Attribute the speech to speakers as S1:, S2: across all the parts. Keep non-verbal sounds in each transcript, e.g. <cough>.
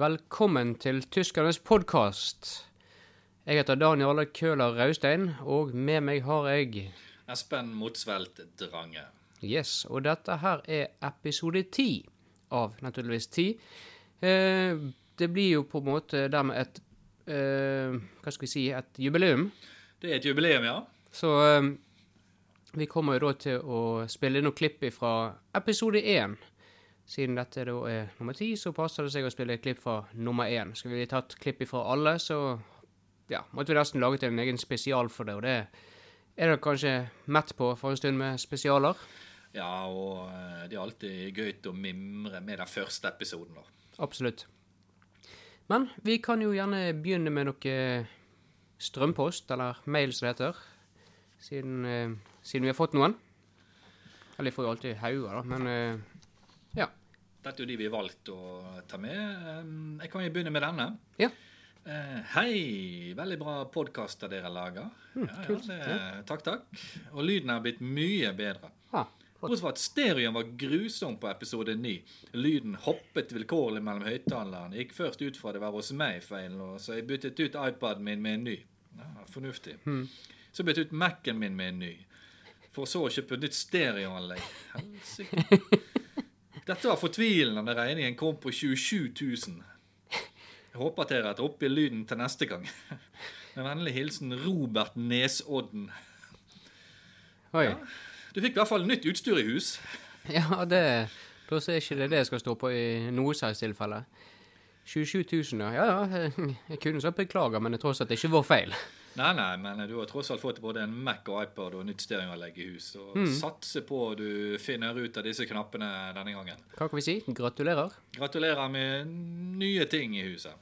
S1: Velkommen til Tyskernes podkast. Jeg heter Daniel Køhler Raustein, og med meg har jeg
S2: Espen Motsvelt Drange.
S1: Yes, og dette her er episode ti av naturligvis ti. Eh, det blir jo på en måte dermed et eh, Hva skal vi si et jubileum.
S2: Det er et jubileum, ja.
S1: Så eh, vi kommer jo da til å spille inn noen klipp fra episode én. Siden dette da er nummer ti, så passer det seg å spille et klipp fra nummer én. Skulle vi tatt klipp fra alle, så ja, måtte vi nesten laget en egen spesial for det. Og det er dere kanskje mett på for en stund med spesialer.
S2: Ja, og eh, det er alltid gøy å mimre med den første episoden. da.
S1: Absolutt. Men vi kan jo gjerne begynne med noe eh, strømpost, eller mail som det heter, siden, eh, siden vi har fått noen. Eller vi får jo alltid hauger, da, men eh, ja.
S2: Dette er jo de vi har valgt å ta med. Eh, Jeg kan jo begynne med denne.
S1: Ja.
S2: Eh, Hei! Veldig bra podkaster dere lager. ja, ja,
S1: kult.
S2: det, takk, takk. Og lyden er blitt mye bedre.
S1: Ah, flott.
S2: Bortsett fra at stereoen var grusom på episode 9. Lyden hoppet vilkårlig mellom høyttalerne. Gikk først ut fra det var hos meg-feilen, og så jeg byttet ut iPaden min med en ny. Ja, fornuftig. Så byttet jeg ut Mac-en min med en ny. For så å kjøpe nytt stereoanlegg. Helsike. Dette var fortvilende når regningen kom på 27 000. Jeg håper at dere er oppe i lyden til neste gang. Med vennlig hilsen Robert Nesodden.
S1: Oi.
S2: Du fikk i hvert fall nytt utstyr i hus.
S1: Ja, det Da så er ikke det det jeg skal stå på i noe slags tilfelle. 27 000, ja. Ja, ja. Jeg kunne sagt beklager, men jeg tror også at det ikke var feil.
S2: Nei, nei, men du har tross alt fått både en Mac og iPad og nytt stereoanlegg i hus. Og satse på du finner ut av disse knappene denne gangen.
S1: Hva kan vi si? Gratulerer.
S2: Gratulerer med nye ting i huset.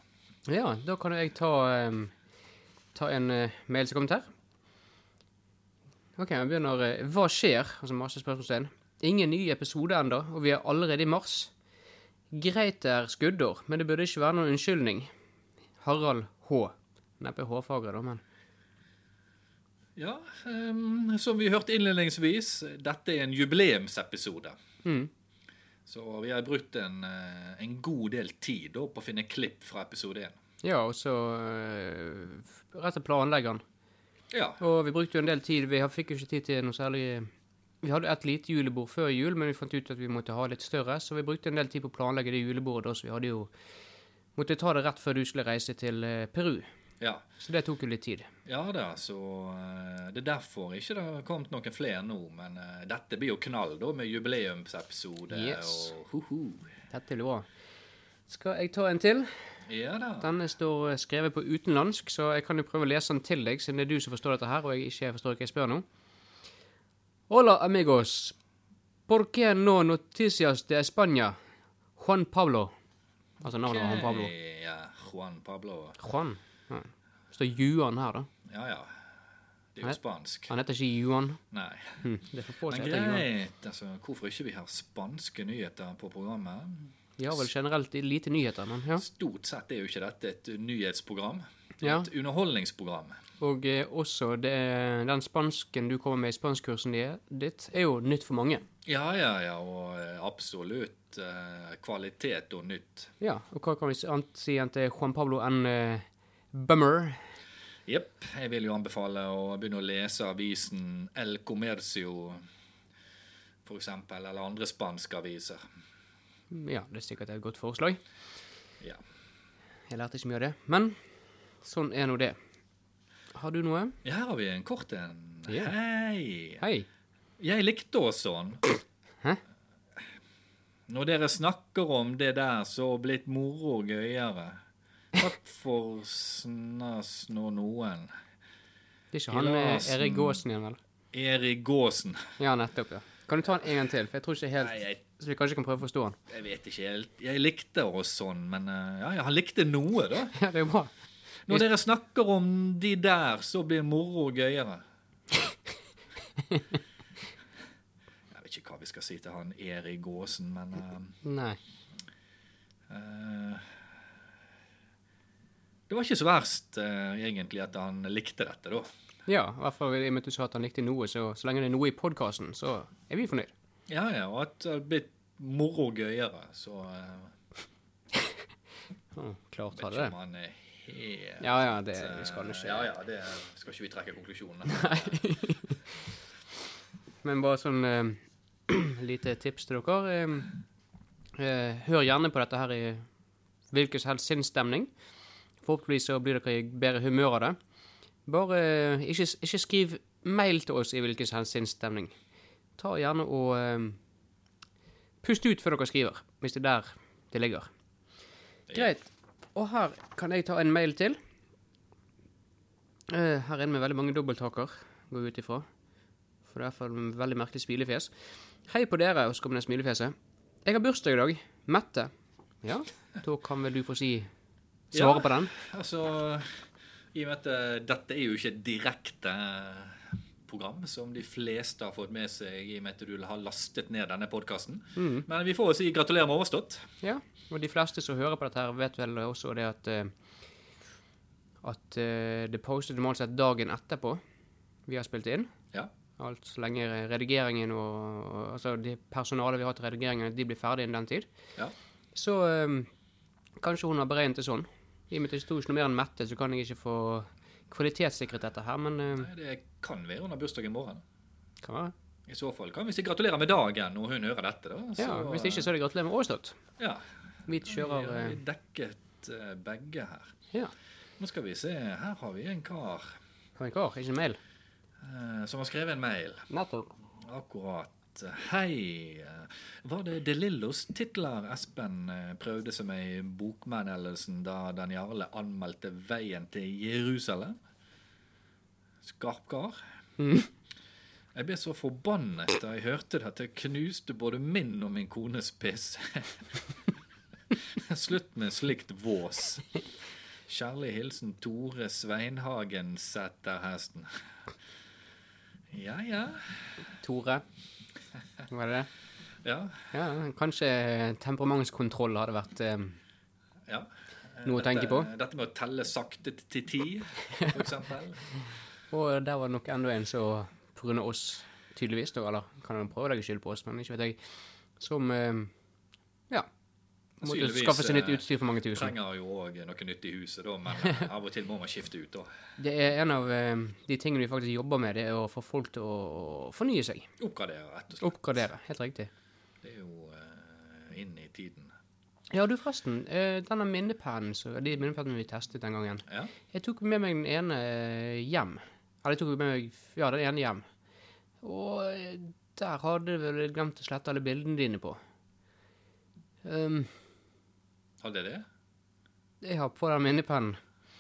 S1: Ja, da kan jeg ta, em, ta en eh, mail som kommentar. Ok, jeg begynner eh, Hva skjer? Altså masse spørsmålstegn. Ingen ny episode enda, og vi er allerede i mars. Greit det er skuddår, men det burde ikke være noen unnskyldning. Harald H. Neppe hårfagre, da, men
S2: Ja, ehm, som vi hørte innledningsvis, dette er en jubileumsepisode.
S1: Mm.
S2: Så vi har brukt en, eh, en god del tid da, på å finne klipp fra episode 1.
S1: Ja, og så eh, rett til planleggeren.
S2: Ja,
S1: Og vi brukte jo en del tid. Vi har- fikk jo ikke tid til noe særlig Vi hadde et lite julebord før jul, men vi fant ut at vi måtte ha litt større, så vi brukte en del tid på å planlegge det julebordet da, så vi hadde jo Måtte ta det rett før du skulle reise til eh, Peru.
S2: ja.
S1: Så det tok jo litt tid.
S2: ja da, så eh, det er derfor ikke det har kommet noen flere nå. Men eh, dette blir jo knall da, med jubileumsepisode
S1: Yes.
S2: og hoho.
S1: Dette blir bra. Skal jeg ta en til?
S2: Ja da.
S1: Denne står eh, skrevet på utenlandsk, så jeg kan jo prøve å lese den til deg, siden det er du som forstår dette her, og jeg ikke forstår hva jeg spør nå. Hola, amigos. Por qué no noticias de España? Juan Pablo. Altså navnet var Juan Pablo.
S2: Ok, Ja, Juan Pablo.
S1: Juan? Ja. Står Juan her, da?
S2: Ja ja. Det er
S1: Nei.
S2: jo spansk.
S1: Han heter ikke Juan.
S2: Nei.
S1: Hm, Det er for få som
S2: Men
S1: heter Juan.
S2: greit. Altså, hvorfor ikke vi har spanske nyheter på programmet?
S1: De har vel generelt lite nyheter, men ja.
S2: Stort sett er jo ikke dette et nyhetsprogram. Det er
S1: Ja.
S2: Et underholdningsprogram.
S1: Og eh, også det, den spansken du kommer med i spanskkursen di- ditt, er jo nytt for mange.
S2: Ja, ja, ja, og eh, absolutt eh, kvalitet og nytt.
S1: Ja, og hva kan vi si annet si enn til Juan Pablo enn eh, Bummer?
S2: Jepp. Jeg vil jo anbefale å begynne å lese avisen El Comercio, for eksempel, eller andre spanske aviser.
S1: Ja, det er sikkert et godt forslag.
S2: Ja.
S1: Jeg lærte ikke mye av det, men sånn er nå det. Har du noe?
S2: Her har vi en kort en.
S1: Ja.
S2: Hei!
S1: Hei.
S2: Jeg likte oss sånn.
S1: Hæ?
S2: Når dere snakker om det der, så blitt moro og gøyere. Takk for snas nå noen.
S1: Det er ikke han eh,
S2: Larsen.
S1: Erik Gåsen igjen, vel?
S2: Erik Gåsen.
S1: Ja, nettopp, ja. Kan du ta den en gang til? For jeg tror ikke
S2: Nei,
S1: helt
S2: jeg,
S1: Så vi kanskje kan prøve å forstå han. <laughs>
S2: jeg vet ikke helt. Jeg likte oss sånn, men eh, ja, ja, han likte noe, da.
S1: Ja, det er jo bra.
S2: Når dere snakker om de der, så blir moro
S1: <laughs>
S2: og gøyere. Jeg vet ikke hva vi skal si til han Erik Gåsen, men eh,
S1: Nei.
S2: eh, Det var ikke så verst, eh, egentlig, at han likte dette, da.
S1: Ja, i hvert fall i og med at du sa at han likte noe, så så lenge det er noe i podkasten, så er vi fornøyd.
S2: Ja, ja, og at det har blitt moro og gøyere, så eh,
S1: Oh, klart
S2: Vet
S1: hadde
S2: ikke
S1: det.
S2: om han er helt eh,
S1: Ja, ja, det vi skal ikke.
S2: Ja, ja, det skal ikke vi trekke konklusjonen.
S1: Men bare sånn eh, <clears throat> lite tips til dere. eh, eh, hør gjerne på dette her i hvilken som helst sinnsstemning. Forhåpentligvis så blir dere i bedre humør av det. Bare eh, ikke, ikke skriv mail til oss i hvilken som helst sinnsstemning. Ta gjerne og eh, pust ut før dere skriver, hvis det er der det ligger. Greit. Og her kan jeg ta en mail til. Eh, her inne med veldig mange dobbelttaker, går vi ut ifra. For det er i hvert fall en veldig merkelig smilefjes. Hei på dere, og så kommer det smilefjeset. Jeg har bursdag i dag. Mette. Ja, da kan vel du få si svare
S2: Ja.
S1: på den?
S2: <laughs> Altså, i og med at eh, dette er jo ikke et direkte eh, program som de fleste har fått med seg i og med at du har lastet ned denne podkasten.
S1: Mm.
S2: Men vi får jo si gratulerer med overstått.
S1: Ja. Og de fleste som hører på dette, her vet vel også det at eh, At eh, det postet normalt sett dagen etterpå vi har spilt inn.
S2: Ja.
S1: Alt så lenge redigeringen og, og Altså, de personalet vi har til redigeringen, de blir ferdig innen den tid.
S2: ja.
S1: Så ehm, kanskje hun har beregnet det sånn. I og med at det sto ikke noe mer enn Mette, så kan jeg ikke få kvalitetssikret dette her, men ehm,
S2: Nei, Det kan være hun har bursdag i morgen.
S1: kan være.
S2: I så fall kan vi si gratulerer med dagen når hun hører dette. da.
S1: Ja,
S2: Så,
S1: hvis ikke, så er det gratulerer med overstått.
S2: eh, ja.
S1: Vi
S2: Vi
S1: kjører
S2: har
S1: eh,
S2: dekket eh, begge her.
S1: Ja.
S2: Nå skal vi se. Her har vi en kar
S1: Har en kar, ikke en mail.
S2: eh, som har skrevet en mail.
S1: Nettopp.
S2: Akkurat. Hei. Var det De Lillos titler Espen eh, prøvde som i bokmedelsen da Dan Jarle anmeldte 'Veien til Jerusalem'? Skarp kar. Jeg ble så forbannet da jeg hørte det at jeg knuste både min og min kones PC. <laughs> Slutt med slikt vås. Kjærlig hilsen Tore Sveinhagen setter hesten. Ja, ja.
S1: Tore. Var det det?
S2: Ja.
S1: Ja, kanskje temperamentskontroll hadde vært ehm,
S2: ja.
S1: Noe å
S2: Dette-
S1: tenke på?
S2: Dette med å telle sakte t- til ti, for
S1: <laughs>
S2: eksempel.
S1: Og der var det nok enda en som pga. oss, tydeligvis, da, eller kan han prøve å legge skyld på oss, men ikke vet jeg, som eh, ja, måtte
S2: Sannsynligvis,
S1: skaffe seg nytt
S2: eh,
S1: utstyr for mange tusen.
S2: Trenger jo òg noe nytt i huset, da, men
S1: <laughs>
S2: eh, av og til må man skifte ut, da.
S1: Det er en av eh, de tingene vi faktisk jobber med, det er å få folk til å å fornye seg.
S2: Oppgradere, rett og slett.
S1: Oppgradere, helt riktig.
S2: Det er jo eh, inn i tiden.
S1: Ja, du forresten, eh, denne minnepennen, så, de minnepennene vi testet den gangen,
S2: Ja.
S1: jeg tok med meg den ene eh, hjem. Eller jeg tok med meg, ja, den ene hjem. Og eh, der hadde jeg vel glemt å slette alle bildene dine på. Ehm,
S2: Hadde jeg det?
S1: Jeg har på den minnepennen.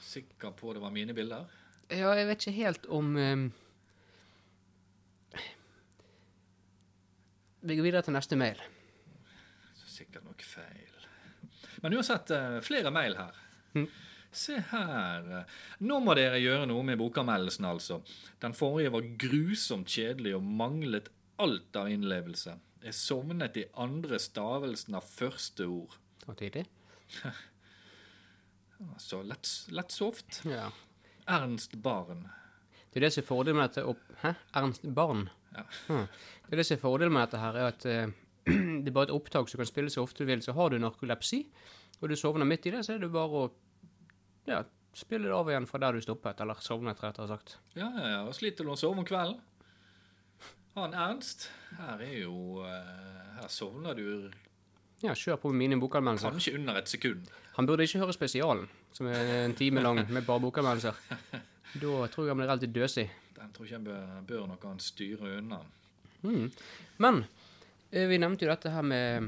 S2: Sikker på det var mine bilder?
S1: Ja, jeg vet ikke helt om ehm, Vi går videre til neste mail.
S2: Så sikkert noe feil. Men uansett, eh, flere mail her.
S1: Mm.
S2: Se her. Nå må dere gjøre noe med bokanmeldelsen, altså. Den forrige var grusomt kjedelig og manglet alt av innlevelse. Jeg sovnet i andre stavelsen av første ord.
S1: Så tidlig.
S2: Så Altså, lett, lett soft.
S1: Ja.
S2: Ernst Barn.
S1: Det er det som er fordelen med dette opp... Hæ? Ernst Barn?
S2: Ja.
S1: Hm. Det er det som er fordelen med dette her, er at eh, <clears throat> det er bare et opptak som kan spille så ofte du vil. Så har du narkolepsi, og du sovner midt i det, så er det bare å ja, spille det av igjen fra der du stoppet, eller sovnet, rettere sagt.
S2: Ja, ja, ja. Og sliter du med å sove om kvelden? Han Ernst, her er jo eh, Her sovner du
S1: Ja, kjør på med mine bokanmeldelser.
S2: kanskje under et sekund.
S1: Han burde ikke høre spesialen, som er en time lang med bare bokanmeldelser. Da tror jeg han blir relativt døsig.
S2: Den tror ikke jeg bør, bør nok han styre unna.
S1: Mm. Men eh, vi nevnte jo dette her med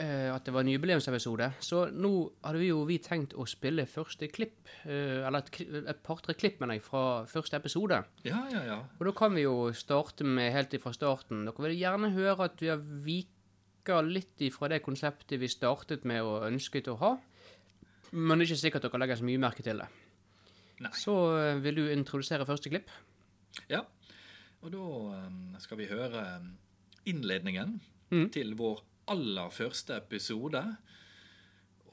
S1: eh, at det var en jubileumsepisode, så nå hadde vi jo vi tenkt å spille første klipp, eh, eller et, kli- et par-tre klipp, mener jeg, fra første episode.
S2: Ja, ja, ja.
S1: Og da kan vi jo starte med helt ifra starten. Dere vil gjerne høre at vi har vika litt ifra det konseptet vi startet med og ønsket å ha. Men det er ikke sikkert dere legger så mye merke til det.
S2: Nei.
S1: Så eh, vil du introdusere første klipp?
S2: Ja. Og da eh, skal vi høre eh, innledningen til vår aller første episode.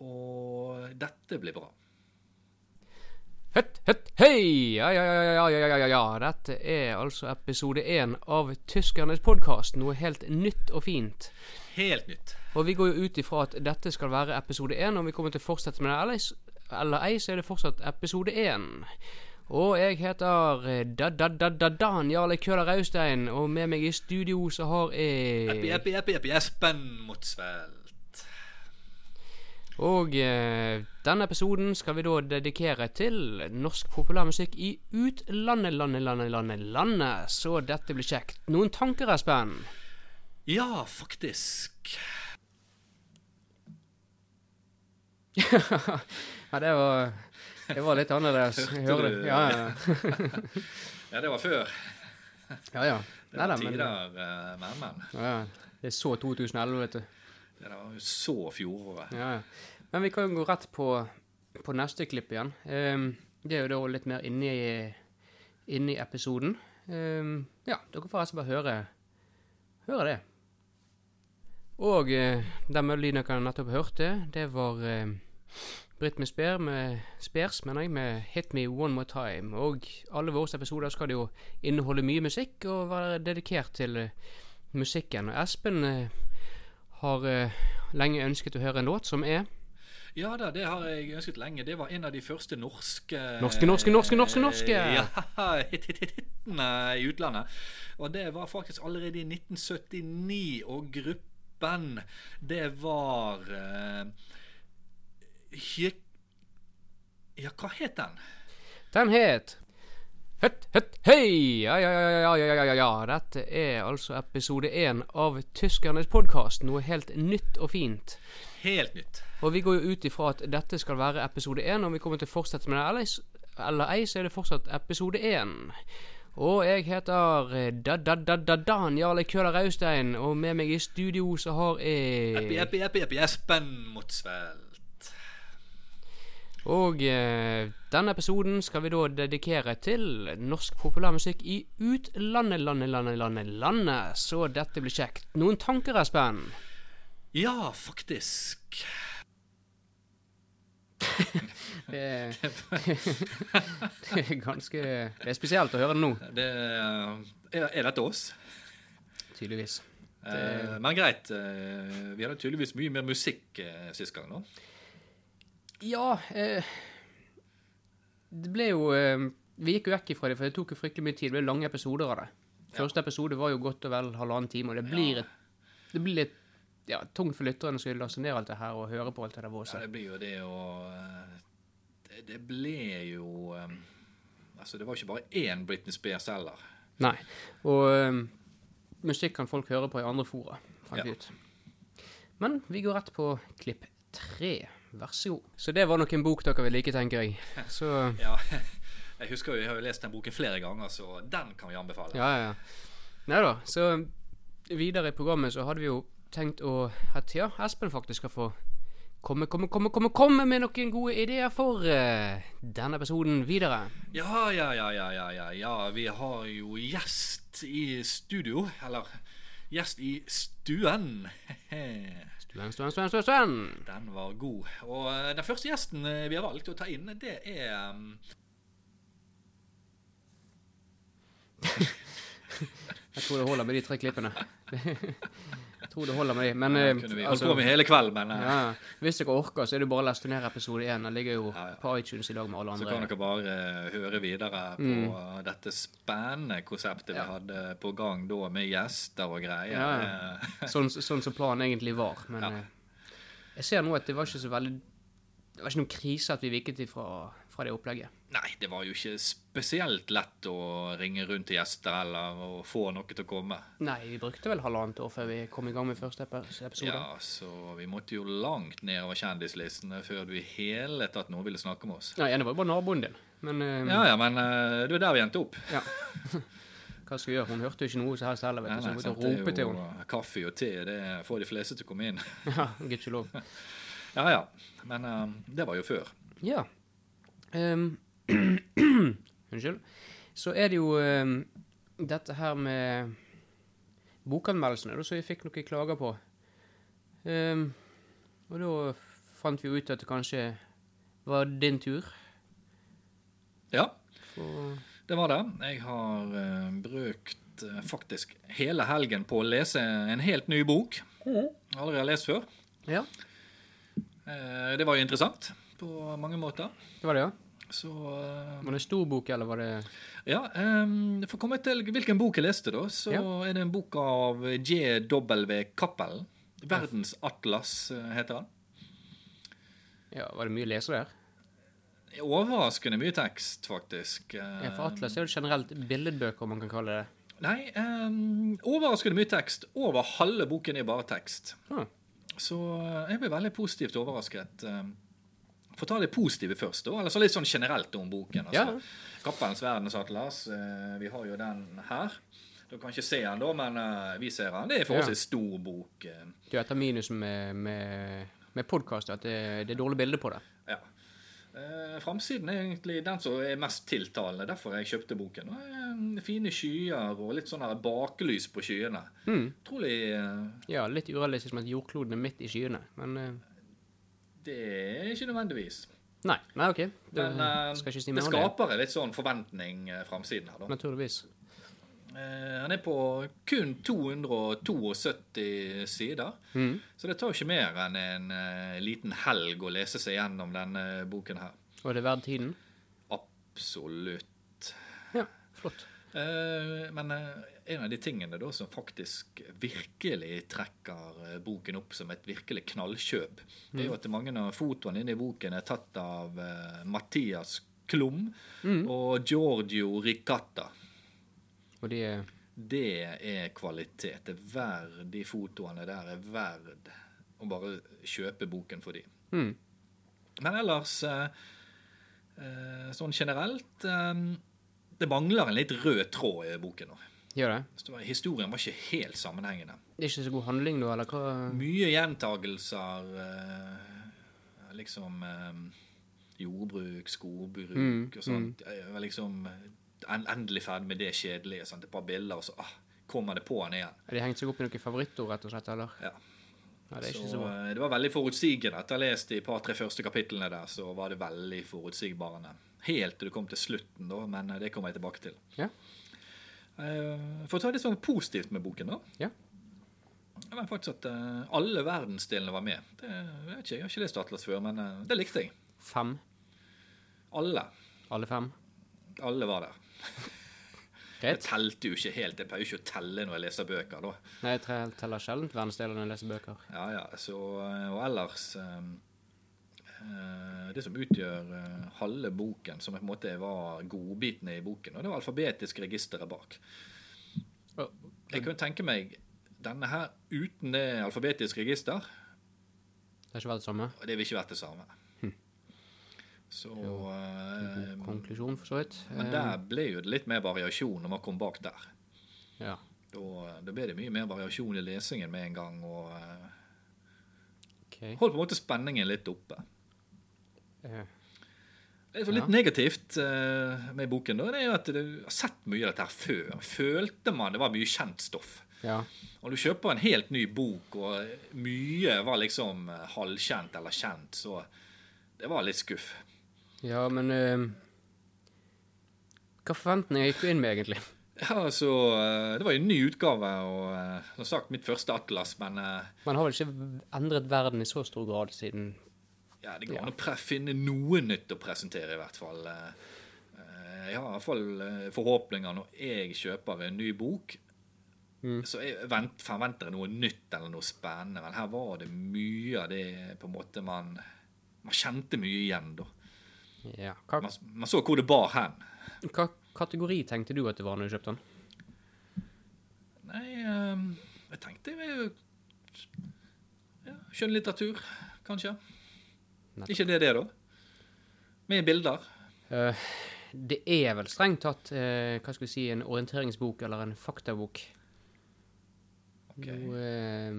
S2: Og dette blir bra.
S1: Høtt, høtt, hei! Ja, ja, ja, ja, ja, ja, ja, ja. Dette er altså episode én av Tyskernes podkast. Noe helt nytt og fint.
S2: helt nytt.
S1: Og vi går jo ut ifra at dette skal være episode én, og vi kommer til å fortsette med det. Eller, s- eller ei, så er det fortsatt episode én. Og jeg heter eh, Da-da-da-da-Dan Jarle Køhler Raustein, og med meg i studio så har
S2: Eppi,
S1: jeg
S2: eppi, eppi, eppi, Espen Motsveld.
S1: Og eh, denne episoden skal vi da dedikere til norsk populærmusikk i utlandet, landet, landet, landet, landet. Så dette blir kjekt. Noen tanker, Espen?
S2: Ja, faktisk.
S1: Ja, det var, det var litt annerledes.
S2: <laughs>
S1: Jeg hører
S2: du?
S1: det. Ja, ja.
S2: Ja, det var før.
S1: ja, ja.
S2: Det var
S1: Neida, men-
S2: tider eh, med men.
S1: Ja, ja. det er så 2011, vet du.
S2: Det der var jo så fjoråret.
S1: Ja, ja. Men vi kan jo gå rett på, på neste klipp igjen. Ehm, det er jo da litt mer inni, inni episoden. Ehm, ja, dere får altså bare høre, høre det. Og eh, den melodien dere nettopp hørte, det var eh, Britt med Spears, med, Spears, mener jeg, med 'Hit Me One More Time'. Og alle våre episoder skal jo inneholde mye musikk og være dedikert til eh, musikken. Og Espen eh, har eh, lenge ønsket å høre en låt som er
S2: Ja da, det har jeg ønsket lenge. Det var en av de første norske
S1: Norske, norske, norske, norske, norske!
S2: <laughs> Ja, hit, hit, hit, hitene i utlandet. Og det var faktisk allerede i 1979, og gruppen, det var eh, Hy- Ja, hva het den?
S1: Den het Høtt, høtt, høy! Ja, ja, ja, ja, ja, ja, ja, ja. Dette er altså episode én av Tyskernes podkast. Noe helt nytt og fint.
S2: Helt nytt.
S1: Og vi går jo ut ifra at dette skal være episode én, og vi kommer til å fortsette med det. Eller, s- eller ei, så er det fortsatt episode én. Og jeg heter eh, Da-da-da-da-Dan Jarle Køhler Raustein, og med meg i studio så har
S2: Eppi,
S1: jeg
S2: eppi, eppi, eppi, Espen Motsveld.
S1: Og eh, denne episoden skal vi da dedikere til norsk populærmusikk i utlandet, landet, landet, landet, landet. Så dette blir kjekt. Noen tanker, Espen?
S2: Ja, faktisk.
S1: Det er, det er ganske Det er spesielt å høre det nå,
S2: Det, eh, er, er dette oss?
S1: tydeligvis.
S2: Eh, men greit. Eh, vi hadde tydeligvis mye mer musikk eh, sist gang. nå.
S1: Ja eh, Det ble jo eh, Vi gikk jo vekk ifra det, for det tok jo fryktelig mye tid. Det ble lange episoder av det. Første episode var jo godt og vel halvannen time, og det blir, et, det blir litt ja, tungt for lytterne å skulle laste ned alt det her og høre på alt det der
S2: Ja,
S1: våset.
S2: det blir jo det å eh, det, det ble jo eh, Altså, det var ikke bare én Britney Spears heller.
S1: Nei. Og øhm, musikk kan folk høre på i andre fora, fant vi ut. Men vi går rett på klipp tre. Vær så god. Så det var nok en bok dere vil like, tenker jeg. Så
S2: Ja, <laughs> jeg husker jo, jeg har jo lest den boken flere ganger, så den kan vi anbefale.
S1: Ja, ja, ja. Nei da. Så videre i programmet så hadde vi jo tenkt å at ja, Espen faktisk skal få komme, komme, komme, komme, komme med noen gode ideer for eh, denne episoden videre.
S2: Ja, ja, ja, ja, ja, ja, ja. Vi har jo gjest i studio. Eller gjest i stuen. <laughs>
S1: Sven, Sven, Sven, Sven, Sven.
S2: Den var god. Og eh, den første gjesten eh, vi har valgt å ta inn, det er eh,
S1: Jeg tror det holder med de tre klippene. <laughs> Jeg tror det holder med de. Men eh,
S2: Det kunne vi holdt på med hele kvelden, men eh,
S1: Ja, Hvis dere orker, så er det bare å laste ned episode 1. Den ligger jo
S2: Ja, ja.
S1: på iTunes i dag med alle
S2: så kan
S1: andre.
S2: dere bare eh, høre videre på
S1: Mm.
S2: eh, dette spennende konseptet vi hadde på gang da, med gjester og greier.
S1: Ja,
S2: Eh,
S1: Sånn, sånn som planen egentlig var. Men
S2: Ja.
S1: eh, jeg ser nå at det var ikke så veldig Det var ikke noen krise at vi viket ifra fra det opplegget.
S2: Nei, det var jo ikke spesielt lett å ringe rundt til gjester eller å få noe til å komme.
S1: Nei, vi brukte vel halvannet år før vi kom i gang med første epi- episode.
S2: Ja, så vi måtte jo langt nedover kjendislistene før vi i hele tatt noen ville snakke med oss.
S1: Nei, ene var jo bare naboen din. Men eh,
S2: Ja, ja, men eh, det er der vi endte opp.
S1: <laughs> hva skal vi gjøre? Hun hørte jo ikke noe så helst heller, vet du. Så vi måtte
S2: sant, det er
S1: rope til
S2: jo
S1: henne. <laughs>
S2: Kaffe og te, det får de fleste til å komme inn. <laughs>
S1: Ja, gudskjelov.
S2: Ja, ja. Men eh, det var jo før.
S1: Ja. Ehm, <clears throat> unnskyld. Så er det jo ehm, dette her med bokanmeldelsene, da, som vi fikk noen klager på. Ehm, og da fant vi jo ut at det kanskje var din tur.
S2: Ja,
S1: Og,
S2: det var det. Jeg har eh, brukt eh, faktisk hele helgen på å lese en helt ny bok.
S1: Mm.
S2: Aldri har lest før.
S1: Ja,
S2: Eh, Det var jo interessant på mange måter.
S1: det var det, ja.
S2: Så eh,
S1: Var det en stor bok, eller var det
S2: Ja, um, for å komme til hvilken bok jeg leste, da, så
S1: Ja.
S2: er det en bok av J.W. Cappell. 'Verdensatlas' eh, heter han.
S1: Ja, var det mye lesere der?
S2: Overraskende mye tekst, faktisk. Eh,
S1: Ja, for Atlas er jo generelt billedbøker, om man kan kalle det.
S2: Nei, ehm, overraskende mye tekst. Over halve boken er bare tekst.
S1: Ah.
S2: Så eh, jeg ble veldig positivt overrasket. Ehm, Få ta det positive først, da. Eller så litt sånn generelt om boken. Altså.
S1: Ja.
S2: Kappelens verdensatlas, eh, vi har jo den her. Du kan ikke se den, da, men eh, vi ser den. Det er forholdsvis stor bok. eh,
S1: Du, etter minusen med, med, med podkast, at det, det er dårlig bilde på det.
S2: Ja. Eh, Framsiden er egentlig den som er mest tiltalende. Derfor jeg kjøpte boken. Og, eh, fine skyer og litt sånn her baklys på skyene.
S1: Hmm.
S2: Trolig eh,
S1: Ja, litt urealistisk med at jordkloden er midt i skyene, men eh,
S2: Det er ikke nødvendigvis.
S1: Nei, nei, OK. Det,
S2: Men eh,
S1: skal ikke si
S2: det
S1: mer om det.
S2: skaper en litt sånn forventning eh, framsiden her, da.
S1: Naturligvis.
S2: Eh, han er på kun 272 sider,
S1: Mhm.
S2: så det tar jo ikke mer enn en eh, liten helg å lese seg gjennom denne boken her.
S1: Og er det verdt tiden?
S2: Absolutt.
S1: Ja, flott.
S2: Eh, Men eh, en av de tingene da som faktisk virkelig trekker eh, boken opp som et virkelig knallkjøp, det er jo at mange av fotoene inne i boken er tatt av eh, Mathias Klum og Giorgio Ricatta.
S1: Og de eh, er
S2: Det er kvalitet. Det er verd, de fotoene der er verd å bare kjøpe boken for de.
S1: mm,
S2: Men ellers, eh, eh, sånn generelt eh, Det mangler en litt rød tråd i boken nå.
S1: Gjør det?
S2: Så det var, historien var ikke helt sammenhengende.
S1: Det er ikke så god handling nå, eller hva?
S2: Mye gjentagelser. eh, liksom eh, jordbruk, skogbruk
S1: Mm,
S2: og sånt. Jeg var liksom en, endelig ferdig med det kjedelige. Sant? Et par bilder, og så ah, kommer det på han igjen.
S1: Har de hengt seg opp i noen favorittord, rett og slett, eller?
S2: Ja.
S1: Nei, det er ikke
S2: så,
S1: så bra.
S2: eh, det var veldig forutsigende. Etter å ha lest de par-tre første kapitlene der, så var det veldig forutsigbarende. Helt til du kom til slutten, da, men eh, det kommer jeg tilbake til.
S1: Ja.
S2: Eh, for å ta det sånn positivt med boken, da.
S1: Ja.
S2: Det var faktisk at eh, alle verdensdelene var med. Det, jeg, vet ikke, jeg har ikke lest Atlas før, men eh, det likte jeg.
S1: Fem.
S2: Alle.
S1: Alle fem.
S2: Alle var der. Jeg
S1: Greit.
S2: telte jo ikke helt. Jeg pleier jo ikke å telle når jeg leser bøker, da.
S1: Nei, jeg tre- teller sjelden verdensdeler når jeg leser bøker.
S2: Ja, ja. Så, eh, og ellers eh, eh, Det som utgjør eh, halve boken, som på en måte var godbitene i boken, og det var alfabetisk registeret bak.
S1: Å,
S2: Jeg kunne tenke meg denne her uten det alfabetiske register,
S1: det har ikke vært det samme.
S2: og det ville ikke vært det samme. Så eh,
S1: Konklusjon, for så vidt.
S2: Men der ble jo det litt mer variasjon når man kom bak der.
S1: Eh, Ja.
S2: Da, da ble det mye mer variasjon i lesingen med en gang, og eh,
S1: OK.
S2: holdt på en måte spenningen litt oppe.
S1: Eh,
S2: Det er så litt
S1: Ja.
S2: negativt eh, med boken, da, det er jo at du har sett mye av dette her før. Følte man det var mye kjent stoff.
S1: ja.
S2: Og du kjøper en helt ny bok, og mye var liksom eh, halvkjent eller kjent, så det var litt skuff.
S1: Ja, men eh, Hva forventninger gikk du inn med, egentlig?
S2: Ja, så eh, Det var jo en ny utgave, og eh, som sagt, mitt første atlas, men eh,
S1: Man har vel ikke endret verden i så stor grad siden
S2: ja, det går an å pre finne noe nytt å presentere, i hvert fall. Eh, eh, Jeg har i hvert fall eh, forhåpninger når jeg kjøper en ny bok, så jeg vent, forventer jeg noe nytt eller noe spennende. Men her var det mye av det på en måte man, man kjente mye igjen, da.
S1: Ja. Hva,
S2: Man, man så hvor det bar hen.
S1: hva kategori tenkte du at det var når du kjøpte den?
S2: Nei, eh, jeg tenkte jeg vil ja, Skjønnlitteratur, kanskje.
S1: Nettopp.
S2: Ikke det, det, da? Med bilder.
S1: Eh, det er vel strengt tatt eh, hva skal vi si, en orienteringsbok eller en faktabok.
S2: Ok.
S1: Noe, eh,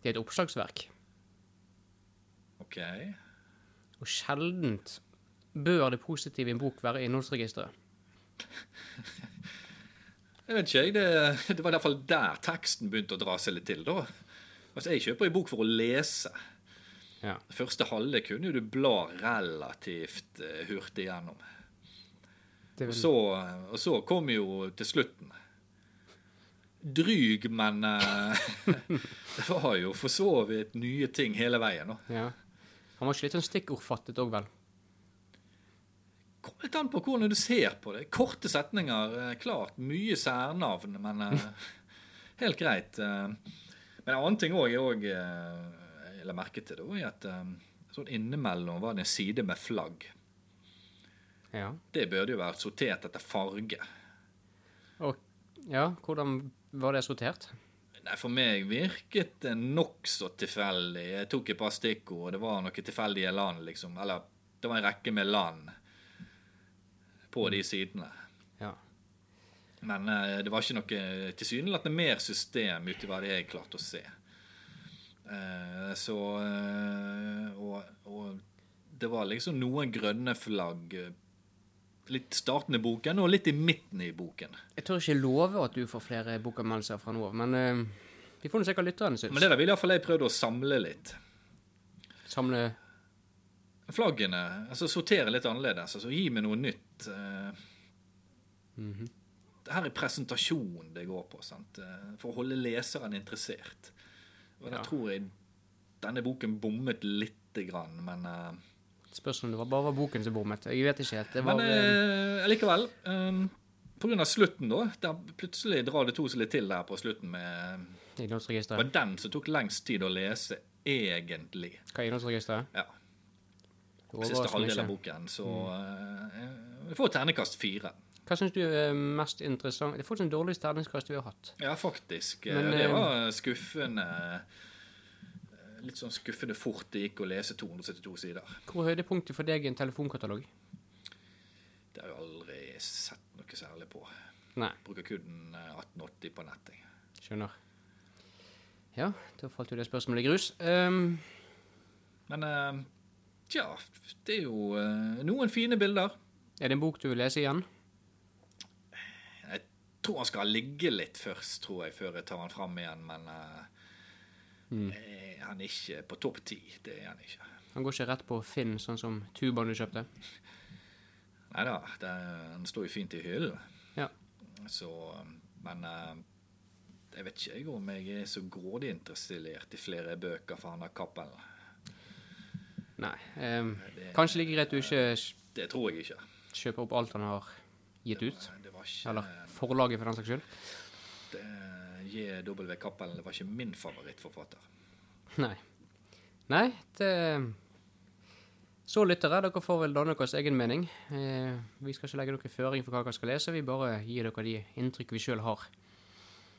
S1: det er et oppslagsverk.
S2: OK.
S1: Og sjeldent bør det positive i en bok være innholdsregisteret.
S2: Jeg vet ikke, jeg. Det, det var i hvert fall der teksten begynte å dra seg litt til, da. Altså, Jeg kjøper en bok for å lese.
S1: Ja.
S2: Første halve kunne jo du bla relativt eh, hurtig gjennom.
S1: Det
S2: Og
S1: vil,
S2: så, og så kom jo til slutten. dryg, men eh, <laughs> det var jo for så vidt nye ting hele veien. da.
S1: Ja. Han var ikke litt sånn stikkordfattet òg, vel?
S2: Kommer litt an på hvordan du ser på det. Korte setninger, eh, klart. Mye særnavn, men eh, <laughs> helt greit. eh. Men en annen ting òg jeg òg eh, la merke til, det var jo at eh, sånn innimellom var det en side med flagg.
S1: Ja.
S2: Det burde jo vært sortert etter farge.
S1: Og, ja, hvordan var det sortert?
S2: Nei, For meg virket det nokså tilfeldig. Jeg tok et par stikkord, og det var noen tilfeldige land, liksom. Eller det var en rekke med land på de sidene.
S1: Ja.
S2: Men eh, det var ikke noe tilsynelatende mer system ut i hva det jeg klarte å se. Eh, så eh, og, og det var liksom noen grønne flagg eh, litt starten i boken og litt i midten i boken.
S1: Jeg tør ikke love at du får flere bokanmeldelser fra nå av, men eh, vi får nå se hva lytterne syns.
S2: Men det der ville iallfall jeg prøvd å samle litt.
S1: Samle
S2: Flaggene. altså Sortere litt annerledes. altså Gi meg noe nytt. eh.
S1: Mhm.
S2: Det her er presentasjon det går på, sant? eh, for å holde leseren interessert. Og
S1: Ja.
S2: da tror jeg denne boken bommet lite grann, men eh,
S1: Spørs om det var bare boken som bommet. Jeg vet ikke helt. Det var,
S2: Men
S1: eh,
S2: eh, likevel eh, På grunn av slutten, da. Der plutselig drar det to seg litt til der på slutten med Det
S1: innholdsregisteret.
S2: var den som tok lengst tid å lese, egentlig.
S1: Hva er innholdsregisteret?
S2: Ja.
S1: Det
S2: Siste
S1: overrasker meg
S2: halvdel av
S1: ikke.
S2: boken. Så
S1: Mm.
S2: eh, jeg får ternekast fire.
S1: Hva syns du er mest interessant? Det er faktisk den dårligste terningskast vi har hatt.
S2: Ja, faktisk. Eh,
S1: Men,
S2: det
S1: eh,
S2: var skuffende eh, Litt sånn skuffende fort det gikk å lese 272 sider.
S1: Hvor er høydepunktet for deg i en telefonkatalog?
S2: Det har jeg aldri sett noe særlig på.
S1: Nei,
S2: Bruker kun eh, 1880 på nett. jeg.
S1: skjønner. Ja, da falt jo det spørsmålet i grus. Ehm,
S2: Men eh, tja, det er jo eh, noen fine bilder.
S1: er det en bok du vil lese igjen?
S2: Jeg tror han skal ligge litt først, tror jeg, før jeg tar han fram igjen, men eh,
S1: Mm.
S2: eh, han er ikke på topp ti. Det er han ikke.
S1: Han går ikke rett på Finn, sånn som tubaen du kjøpte.
S2: Nei da, han står jo fint i hyllen.
S1: Ja.
S2: Så Men eh, jeg vet ikke jeg om jeg er så grådig interessert i flere bøker fra han der Cappelen.
S1: Nei. ehm, kanskje like greit du ikke kj-
S2: Det tror jeg ikke.
S1: kjøper opp alt han har gitt ut?
S2: Det var ikke
S1: Eller forlaget, for den saks skyld? <laughs>
S2: eh, JW Cappelen det var ikke min favorittforfatter.
S1: Nei. Nei, det Så lyttere, dere får vel danne deres egen mening. Eh, vi skal ikke legge noen føring for hva dere skal lese, vi bare gir dere de inntrykk vi sjøl har.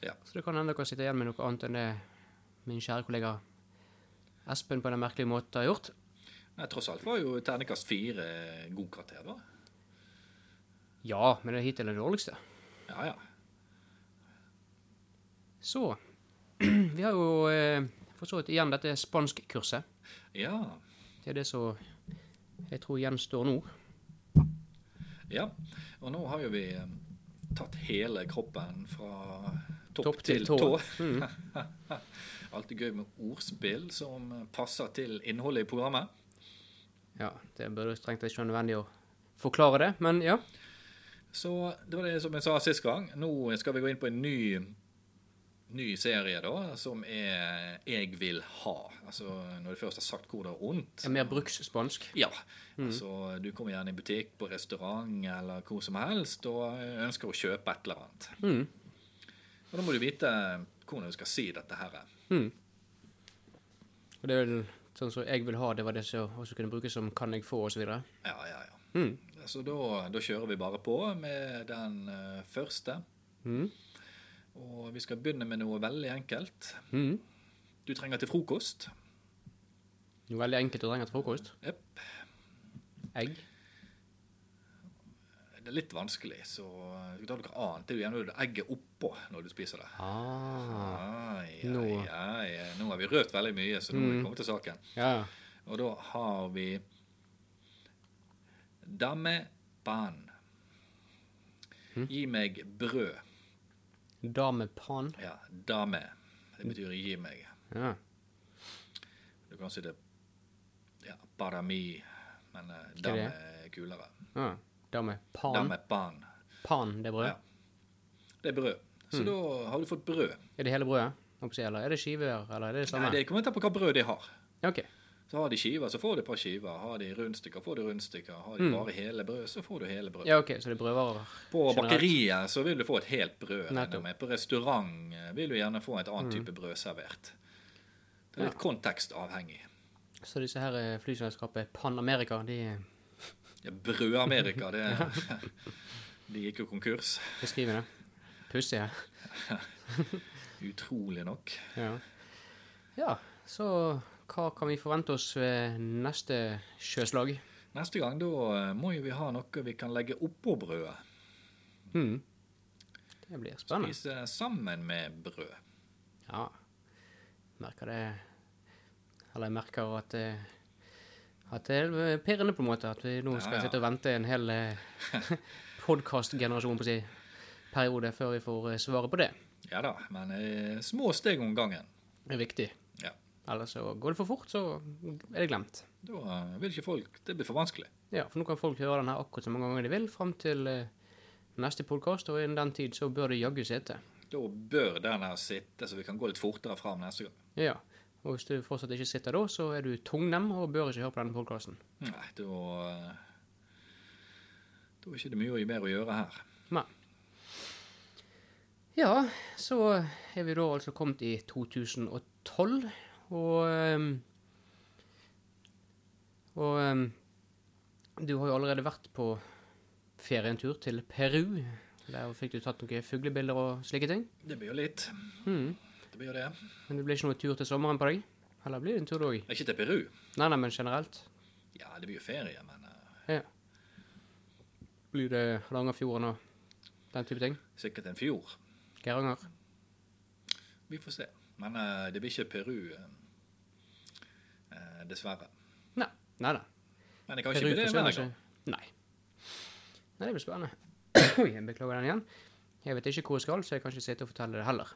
S2: Ja.
S1: Så det kan hende dere sitter igjen med noe annet enn det min kjære kollega Espen på den merkelige måten har gjort.
S2: Nei, tross alt var jo terningkast fire god karakter, da.
S1: Ja, men det er hittil det dårligste.
S2: Ja, ja.
S1: Så <clears throat> Vi har jo eh, for så vidt igjen dette spanskkurset.
S2: Ja.
S1: Det er det som jeg tror gjenstår nå.
S2: ja. Og nå har jo vi eh, tatt hele kroppen fra topp,
S1: Topp til
S2: til,
S1: tå. Mm.
S2: tå. <laughs> Alltid gøy med ordspill som eh, passer til innholdet i programmet.
S1: Ja, det burde strengt tatt ikke være nødvendig å forklare det, men ja.
S2: Så det var det som jeg sa sist gang. Nå skal vi gå inn på en ny, ny serie, da, som er 'Jeg vil ha'. Altså når du først har sagt hvor det er vondt.
S1: Er mer bruksspansk.
S2: Ja.
S1: Mm.
S2: Altså, du kommer gjerne i butikk, på restaurant eller hvor som helst og ønsker å kjøpe et eller annet.
S1: Mm.
S2: Og da må du vite hvordan du skal si dette her.
S1: Og det er vel sånn som jeg vil ha, det var det som også kunne brukes som kan jeg få, osv.
S2: Ja, ja, ja.
S1: Hmm,
S2: Så da, da kjører vi bare på med den eh, første.
S1: Mhm.
S2: Og vi skal begynne med noe veldig enkelt.
S1: Mm.
S2: Du trenger til frokost.
S1: Noe veldig enkelt å trenge til frokost.
S2: Jepp.
S1: Egg.
S2: Det er litt vanskelig, så du tar noe annet. Det er jo gjerne egget oppå når du spiser det.
S1: Ah.
S2: Ai, ai,
S1: Nå. Mm.
S2: ai. Nå har vi rørt veldig mye, så nå må vi komme til saken.
S1: Ja.
S2: Og da har vi Dame pan.
S1: Hm?
S2: Gi meg brød.
S1: Da med pan.
S2: Ja, dame. Det betyr gi meg.
S1: Ja.
S2: Du kan si det ja, para mi, men eh,
S1: er
S2: dame
S1: det?
S2: er kulere.
S1: ja. Da med pan.
S2: Dame pan.
S1: Pan, det er brød.
S2: Ja. Det er brød. Så da har du fått brød.
S1: Er Hm. det hele brødet? Håper jeg, Eller er det skiver, eller er det det samme?
S2: Nei, det kommer an på hva brød de har.
S1: Ja, OK.
S2: Så har de skiver, så får du et par skiver. Har de rundstykker, får du rundstykker. Har de
S1: Hm.
S2: bare hele brød, så får du hele brød.
S1: Ja, ok, Så det er brødvarer?
S2: På
S1: generelt.
S2: bakeriet så vil du få et helt brød. regner jeg
S1: Nettopp. Mm.
S2: Med. På restaurant eh, vil du gjerne få et annet type brød servert. Det er litt kontekstavhengig.
S1: Så disse her eh, flyselskapet Pan America, de
S2: Ja,
S1: <laughs>
S2: Brød-Amerika, det <laughs> De gikk jo konkurs.
S1: beskriver det. Pussig. ja.
S2: Utrolig nok.
S1: Ja. ja, så hva kan vi forvente oss ved neste sjøslag?
S2: Neste gang da eh, må jo vi ha noe vi kan legge oppå brødet.
S1: Hmm. Det blir spennende.
S2: Spise sammen med brød.
S1: Ja. Merker det Eller jeg merker at det, at det er pirrende, på en måte. At vi nå
S2: Ja,
S1: skal
S2: ja.
S1: sitte og vente en hel
S2: <laughs>
S1: podkastgenerasjon på si periode før vi får eh, svaret på det.
S2: Ja da, men eh, små steg om gangen.
S1: Det er viktig.
S2: Ja.
S1: Ellers så går det for fort, så er det glemt.
S2: Da eh, vil ikke folk Det blir for vanskelig.
S1: Ja, for nå kan folk høre den her akkurat så mange ganger de vil, fram til eh, neste podkast, og innen den tid så bør det jaggu sitte.
S2: Da bør den her sitte, så vi kan gå litt fortere fram neste gang.
S1: Ja. Og hvis du fortsatt ikke sitter da, så er du tungnem og bør ikke høre på denne podkasten.
S2: Nei, da eh, Da er ikke det mye mer å gjøre her.
S1: Nei. Ja, så er vi da altså kommet i 2012, og ehm, Og ehm, du har jo allerede vært på ferietur til Peru. Der fikk du tatt noen fuglebilder og slike ting.
S2: Det blir jo litt.
S1: Mhm.
S2: Det blir jo det.
S1: Men det blir ikke noe tur til sommeren på deg? Eller blir det en tur òg?
S2: Ikke til Peru.
S1: Nei, nei, men generelt.
S2: Ja, det blir jo ferie, men eh,
S1: Ja. Blir det Hardangerfjorden og den type ting?
S2: sikkert en fjord.
S1: Geiranger?
S2: Vi får se. Men eh, det blir ikke Peru, eh, eh, dessverre.
S1: Nei. Nei da.
S2: Men det kan ikke bli det hver
S1: altså.
S2: gang.
S1: Nei. Nei, det blir
S2: <coughs>
S1: spennende. Oi, jeg beklager den igjen. Jeg vet ikke hvor jeg skal, så jeg kan ikke sitte og fortelle det heller.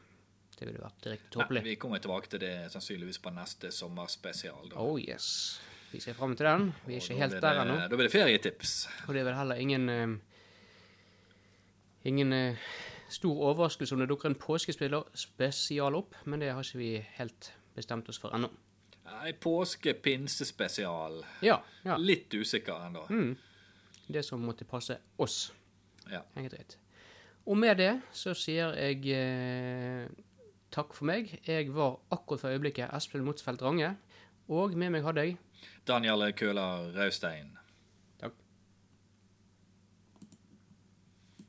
S1: Det ville vært direkte
S2: Nei,
S1: tåpelig.
S2: vi kommer tilbake til det sannsynligvis på neste sommerspesial. Da.
S1: Oh yes. Vi ser fram til den. Vi er
S2: Og
S1: ikke
S2: da
S1: helt
S2: blir
S1: der
S2: det-
S1: ennå.
S2: Da blir det ferietips.
S1: Og det er vel heller ingen eh, Ingen eh, stor overraskelse om det dukker en påskespiller spesial opp, men det har ikke vi helt bestemt oss for ennå.
S2: Nei, påske-pinsespesial.
S1: Ja, ja.
S2: Litt usikker ennå.
S1: Det som måtte passe oss.
S2: Ja.
S1: Enkelt og greit. Og med det så sier jeg eh, takk for meg. Jeg var akkurat for øyeblikket Espen Motsfeldt Range, og med meg hadde jeg
S2: Daniel Køhler Raustein.